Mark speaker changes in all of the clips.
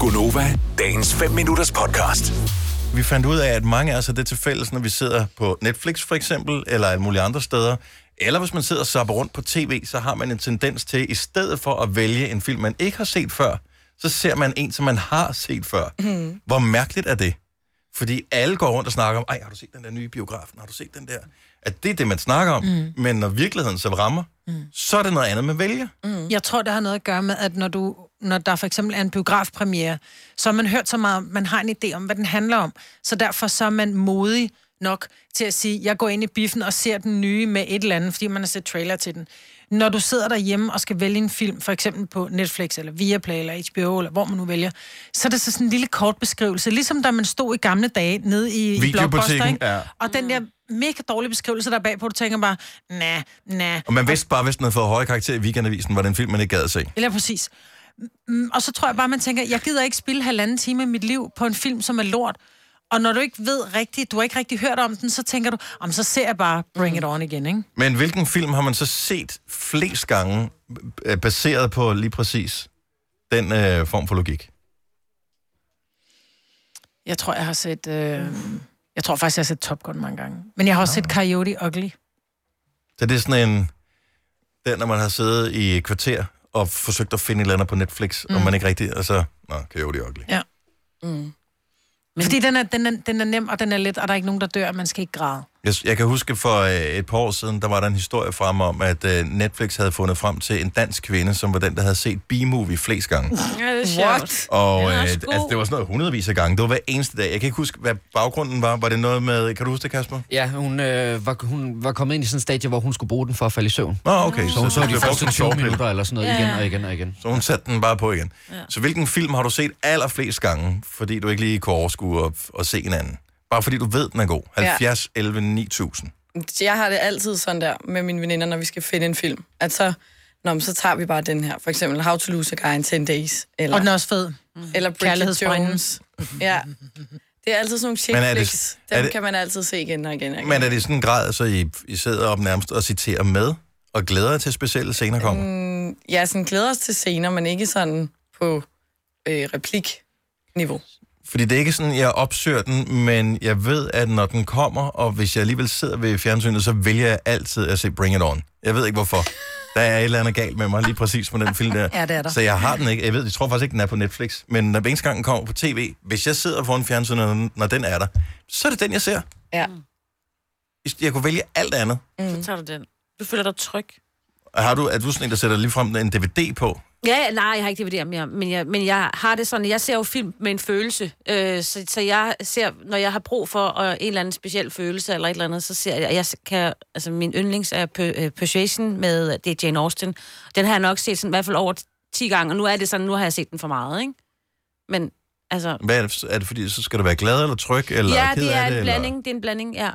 Speaker 1: Gunova, dagens 5 minutters podcast.
Speaker 2: vi fandt ud af, at mange af os har det til fælles, når vi sidder på Netflix for eksempel, eller alle mulige andre steder, eller hvis man sidder og zapper rundt på tv, så har man en tendens til, i stedet for at vælge en film, man ikke har set før, så ser man en, som man har set før. Mm. Hvor mærkeligt er det? Fordi alle går rundt og snakker om, ej, har du set den der nye biografen? Har du set den der? At det er det, man snakker om. Mm. Men når virkeligheden så rammer, mm. så er det noget andet, man vælger. Mm.
Speaker 3: Jeg tror, det har noget at gøre med, at når, du, når der for eksempel er en biografpremiere, så har man hørt så meget, om- man har en idé om, hvad den handler om. Så derfor så er man modig nok til at sige, jeg går ind i biffen og ser den nye med et eller andet, fordi man har set trailer til den. Når du sidder derhjemme og skal vælge en film, for eksempel på Netflix, eller Viaplay, eller HBO, eller hvor man nu vælger, så er det så sådan en lille kort beskrivelse, ligesom da man stod i gamle dage nede i, i
Speaker 2: Videobutikken,
Speaker 3: Blockbuster, ikke?
Speaker 2: ja.
Speaker 3: Og den der mega dårlige beskrivelse der er bagpå, du tænker bare, nah, nah,
Speaker 2: Og man vidste bare, hvis den havde fået høje karakter i weekendavisen, var det en film, man ikke gad at se.
Speaker 3: Eller præcis. Mm, Og så tror jeg bare, man tænker, jeg gider ikke spille halvanden time af mit liv på en film, som er lort. Og når du ikke ved rigtigt, du har ikke rigtig hørt om den, så tænker du, om så ser jeg bare Bring It On igen, ikke?
Speaker 2: Men hvilken film har man så set flest gange, øh, baseret på lige præcis den øh, form for logik?
Speaker 3: Jeg tror, jeg har set... Øh... Jeg tror faktisk, jeg har set Top Gun mange gange. Men jeg har også set Coyote Ugly.
Speaker 2: Så det er sådan en... Den, når man har siddet i et kvarter og forsøgt at finde et eller andet på Netflix, mm. og man ikke rigtig... Altså, nå, kan jo det ugly.
Speaker 3: Ja. Men... Fordi den er, den, er, den er nem, og den er let, og der er ikke nogen, der dør, og man skal ikke græde.
Speaker 2: Jeg, jeg kan huske for øh, et par år siden, der var der en historie frem om, at øh, Netflix havde fundet frem til en dansk kvinde, som var den, der havde set B-movie flest gange.
Speaker 4: Ja, det er sjovt.
Speaker 2: Og
Speaker 4: Den er
Speaker 2: øh,
Speaker 4: også
Speaker 2: altså,
Speaker 4: god.
Speaker 2: det var sådan noget hundredvis af gange. Det var hver eneste dag. Jeg kan ikke huske, hvad baggrunden var. Var det noget med... Kan du huske det, Kasper?
Speaker 5: Ja, hun, øh, var, hun var kommet ind i sådan en stadie, hvor hun skulle bruge den for at falde i søvn.
Speaker 2: Nå, okay.
Speaker 5: Så hun så
Speaker 2: det
Speaker 5: de
Speaker 2: blev brugt
Speaker 5: første
Speaker 2: som
Speaker 5: 20
Speaker 2: sovepille.
Speaker 5: minutter eller sådan noget igen og igen og igen.
Speaker 2: Så hun satte den bare på igen. Ja. Så hvilken film har du set allerflest gange, fordi du ikke lige kunne overskue at, at se en anden? Bare fordi du ved, den er god. 70, ja. 11, 9000.
Speaker 4: Jeg har det altid sådan der med mine veninder, når vi skal finde en film. At så, nå, men så tager vi bare den her. For eksempel How to Lose a Guy in 10 Days. Eller,
Speaker 3: Og den er også fed.
Speaker 4: eller Bridget
Speaker 3: Kærlighedsbrønden.
Speaker 4: Jones. Ja. Det er altid sådan nogle chick
Speaker 2: Men er det-
Speaker 4: flicks.
Speaker 2: er
Speaker 4: Dem
Speaker 2: det-
Speaker 4: kan man altid se igen og igen og igen.
Speaker 2: Men er det i sådan en grad, så I, I sidder op nærmest og citerer med, og glæder jer til at specielle scener kommer? Mm.
Speaker 4: Jeg sådan glæder os til scener, men ikke sådan på øh, replik-niveau.
Speaker 2: Fordi det er ikke sådan, jeg opsøger den, men jeg ved, at når den kommer, og hvis jeg alligevel sidder ved fjernsynet, så vælger jeg altid at se Bring It On. Jeg ved ikke hvorfor. Der er et eller andet galt med mig lige præcis med den film der.
Speaker 3: Ja, det er der.
Speaker 2: Så jeg har den ikke. Jeg ved, jeg tror faktisk ikke, den er på Netflix. Men når hver eneste gang den kommer på tv, hvis jeg sidder foran fjernsynet, når den- når den er der, så er det den, jeg ser.
Speaker 4: Ja.
Speaker 2: Jeg kunne vælge alt andet.
Speaker 6: Så tager du den. Du føler dig tryg.
Speaker 2: Og Har du, er du sådan en, der sætter lige frem en DVD på?
Speaker 6: Ja, ja, nej, jeg har ikke DVD'er mere, men jeg, men jeg har det sådan, jeg ser jo film med en følelse, øh, så, så jeg ser, når jeg har brug for øh, en eller anden speciel følelse eller et eller andet, så ser jeg, jeg kan, altså min yndlings er P- øh, Persuasion med, øh, det er Jane Austen, den har jeg nok set sådan, i hvert fald over 10 gange, og nu er det sådan, nu har jeg set den for meget, ikke? Men, altså,
Speaker 2: Hvad er, det, er det fordi, så skal du være glad eller tryg? Eller
Speaker 6: ja,
Speaker 2: ked
Speaker 6: det er
Speaker 2: af
Speaker 6: en
Speaker 2: det,
Speaker 6: blanding, det er en blanding, ja.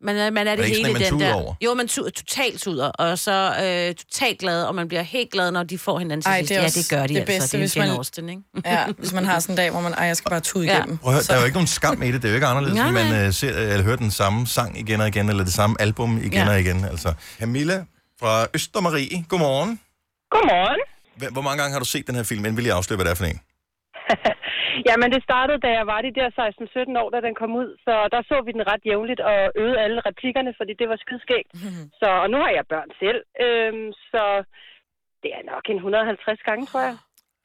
Speaker 6: Man er, man er det,
Speaker 2: ikke sådan,
Speaker 6: hele
Speaker 2: at man
Speaker 6: den
Speaker 2: tuder
Speaker 6: der.
Speaker 2: over?
Speaker 6: Jo, man tuder, totalt tuder, og så øh, totalt glad, og man bliver helt glad, når de får hinanden til
Speaker 4: Ej,
Speaker 6: sidst.
Speaker 4: det er
Speaker 6: Ja,
Speaker 4: også
Speaker 6: det gør de
Speaker 4: det
Speaker 6: altså.
Speaker 4: bedste,
Speaker 6: det er
Speaker 4: hvis
Speaker 6: en Jane
Speaker 4: man-
Speaker 6: Austen, ikke?
Speaker 4: Ja, hvis man har sådan en dag, hvor man, ej, jeg skal bare tude
Speaker 6: Ja.
Speaker 4: igennem.
Speaker 2: Prøv at høre,
Speaker 4: Så-
Speaker 2: der er jo ikke nogen skam i det. Det er jo ikke anderledes,
Speaker 6: Nej,
Speaker 2: at man
Speaker 6: nej.
Speaker 2: øh, ser, eller hører den samme sang igen og igen, eller det samme album igen ja.
Speaker 6: Ja.
Speaker 2: og igen. Altså, Camilla fra Østermarie, godmorgen.
Speaker 7: Godmorgen.
Speaker 2: Hva- Hvor mange gange har du set den her film? Inden vil jeg afsløre, hvad det er for en.
Speaker 7: Jamen, det startede, da jeg var de der 16-17 år, da den kom ud. Så der så vi den ret jævnligt og øvede alle replikkerne, fordi det var skidskægt.
Speaker 2: Mhm.
Speaker 7: Så, og nu har jeg børn selv, øhm, så det er nok en 150 gange, tror jeg.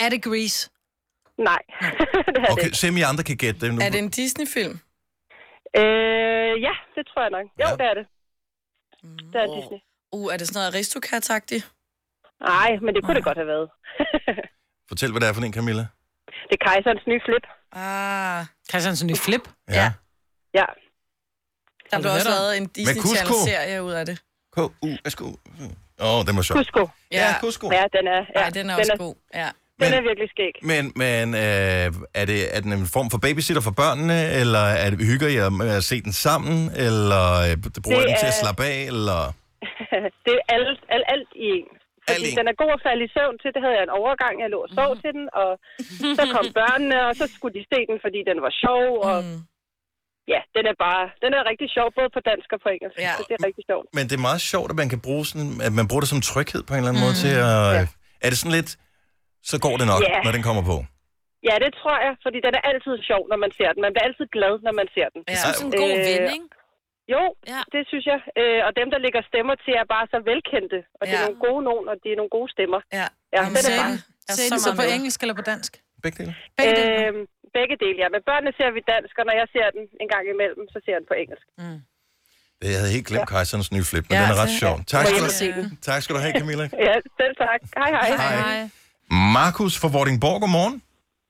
Speaker 3: Er det Grease?
Speaker 7: Nej, det er okay.
Speaker 2: Okay,
Speaker 7: det.
Speaker 2: se om I andre kan gætte det. Nu.
Speaker 4: Er det en Disney-film?
Speaker 7: ikke. Øh, ja, det tror jeg nok. Jo,
Speaker 2: Ja.
Speaker 7: ja. det er det. Det er Disney.
Speaker 4: Uh, er det sådan noget aristokat
Speaker 7: Nej, men det kunne det godt have været.
Speaker 2: Fortæl, hvad det er for en, Camilla.
Speaker 7: Det er kejserens nye flip.
Speaker 4: Ah,
Speaker 3: Christiansen i Flip?
Speaker 2: Ja.
Speaker 7: Ja.
Speaker 4: der blev også
Speaker 3: netop.
Speaker 4: lavet en Disney-channel-serie ud af det.
Speaker 2: K-U-S-K. Åh, oh, den var sjov.
Speaker 7: Kusko.
Speaker 2: Ja, Kusko.
Speaker 7: Ja, den er, ja,
Speaker 4: Ej, den er også god. Ja.
Speaker 7: Den
Speaker 2: Men-
Speaker 7: er virkelig skæg.
Speaker 2: Men, men øh, er, det, er den en form for babysitter for børnene, eller er det, hygger I jer med at se den sammen, eller øh, bruger I
Speaker 7: Det
Speaker 2: den til at
Speaker 7: er-
Speaker 2: slappe af, eller...
Speaker 7: det er alt, alt, alt i en. Fordi
Speaker 2: Alt i en.
Speaker 7: den er god at falde i søvn til. Det havde jeg en overgang. Jeg lå og sov til den, og så kom børnene, og så skulle de se den, fordi den var sjov. Og ja, den er bare... Den er rigtig sjov, både på dansk og på engelsk.
Speaker 4: Ja.
Speaker 7: Ja. Så det er rigtig sjovt.
Speaker 2: Men det er meget sjovt, at man kan bruge sådan, at man bruger det som tryghed på en eller anden måde til at... Ja. Er det sådan lidt, så går det nok,
Speaker 7: Ja.
Speaker 2: når den kommer på.
Speaker 7: Ja, det tror jeg, fordi den er altid sjov, når man ser den. Man bliver altid glad, når man ser den.
Speaker 6: Ja. Som sådan en god
Speaker 7: Øh,
Speaker 6: ven, ikke?
Speaker 7: Jo,
Speaker 6: Ja.
Speaker 7: ja. det synes jeg. Øh, og dem, der lægger stemmer til, er bare så velkendte. Og det er
Speaker 4: Ja.
Speaker 7: nogle gode nogen, og det er nogle gode stemmer.
Speaker 4: Ja.
Speaker 7: Ja,
Speaker 4: Jamen,
Speaker 7: den er
Speaker 3: Sagde
Speaker 7: bare.
Speaker 3: den,
Speaker 4: er
Speaker 3: sagde
Speaker 4: så
Speaker 3: den så
Speaker 4: meget
Speaker 3: på
Speaker 4: med.
Speaker 3: engelsk eller på dansk?
Speaker 2: Begge dele.
Speaker 3: Begge øh,
Speaker 7: Øhm, begge dele, ja. Men børnene ser vi dansk, og når jeg ser den en gang imellem, så ser jeg den på engelsk.
Speaker 2: Det- Jeg havde helt glemt Kejserens nye flip, men
Speaker 4: Ja,
Speaker 2: den er ret
Speaker 4: det-
Speaker 2: sjov. Tak
Speaker 7: Må
Speaker 2: skal,
Speaker 7: jeg
Speaker 2: du, tak skal du have, Camilla.
Speaker 7: Ja, selv tak. Hej, hej.
Speaker 2: Hej.
Speaker 3: Hej.
Speaker 2: Markus fra Vordingborg, godmorgen.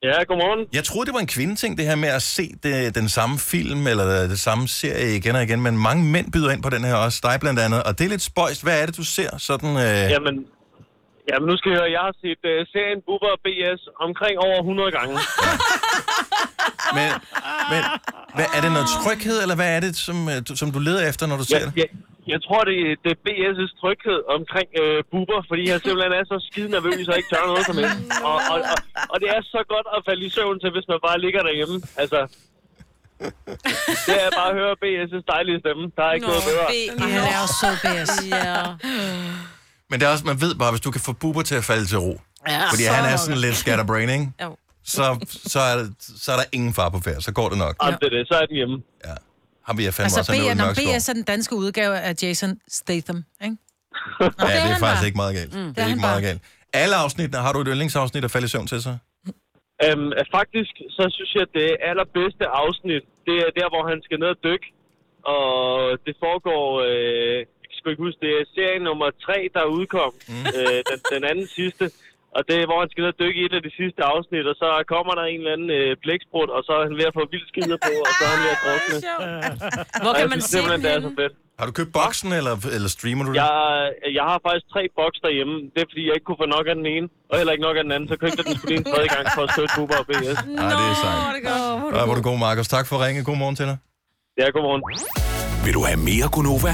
Speaker 8: Ja, godmorgen.
Speaker 2: Jeg troede, det var en kvindeting, det her med at se det, den samme film eller det samme serie igen og igen, men mange mænd byder ind på den her også, dig blandt andet, og det er lidt spøjst. Hvad er det, du ser sådan... Øh...
Speaker 8: Jamen, jamen, nu skal jeg høre, jeg har set uh, serien Bubber BS omkring over 100 gange.
Speaker 2: Men, men hvad, er det noget tryghed, eller hvad er det, som, øh, du, som du leder efter, når du ser
Speaker 8: jeg,
Speaker 2: det?
Speaker 8: jeg, jeg tror, det, det er BS' tryghed omkring uh, Bubber, fordi jeg simpelthen er så skide nervøs og ikke tør noget som helst. Og, og, og, og det er så godt at falde i søvn til, hvis man bare ligger derhjemme. Altså, det er bare at høre BS' dejlige stemme. Der er ikke noget bedre.
Speaker 3: Ej, han er også sød, BS.
Speaker 6: Ja.
Speaker 2: Men det er også, man ved bare, hvis du kan få Bubber til at falde til ro,
Speaker 6: ja.
Speaker 2: fordi han er sådan lidt scatterbrain, ikke?
Speaker 6: Jo.
Speaker 2: Så, så, er, der- så er der ingen far på færd, så går det nok.
Speaker 8: Jamen, det er det. Så er den hjemme.
Speaker 2: Ja. Ham vil jeg fandme
Speaker 3: Altså,
Speaker 2: også have
Speaker 3: B, når
Speaker 2: noget
Speaker 3: BS er den danske udgave af Jason Statham, ikke?
Speaker 2: Ja, det er
Speaker 6: han
Speaker 2: faktisk
Speaker 6: bare.
Speaker 2: ikke meget galt. Mm, det er
Speaker 3: er
Speaker 2: ikke
Speaker 3: han
Speaker 2: meget
Speaker 3: bare.
Speaker 2: galt. Alle afsnittene, har du et yndlingsafsnit at falde i søvn til så?
Speaker 8: Øhm, at faktisk, så synes jeg, at det allerbedste afsnit, det er der, hvor han skal ned og dykke. Og det foregår, øh, jeg skal ikke huske, det er serie nummer 3, der udkom, mm. øh, den, den anden sidste. Og det er, hvor han skal ned og dykke i et af de sidste afsnit, og så kommer der en eller anden øh, blæksprut, og så er han ved at få vildt skider på, og så er han ved at drukne.
Speaker 6: Hvor
Speaker 8: Og jeg
Speaker 6: kan man
Speaker 8: synes
Speaker 6: se
Speaker 8: simpelthen, det er
Speaker 6: den
Speaker 8: så fedt.
Speaker 2: Har du købt boksen, eller, eller streamer du det?
Speaker 8: Jeg, jeg har faktisk tre boks derhjemme. Det er, fordi jeg ikke kunne få nok af den ene, og heller ikke nok af den anden. Så købte jeg den skulle lige en tredje gang for at støtte Bubber og BS.
Speaker 2: Nej, det er sejt. Ja, hvor er du god, Markus. Tak for at ringe. God morgen til dig.
Speaker 8: Ja, godmorgen.
Speaker 1: Vil du have mere Gunova?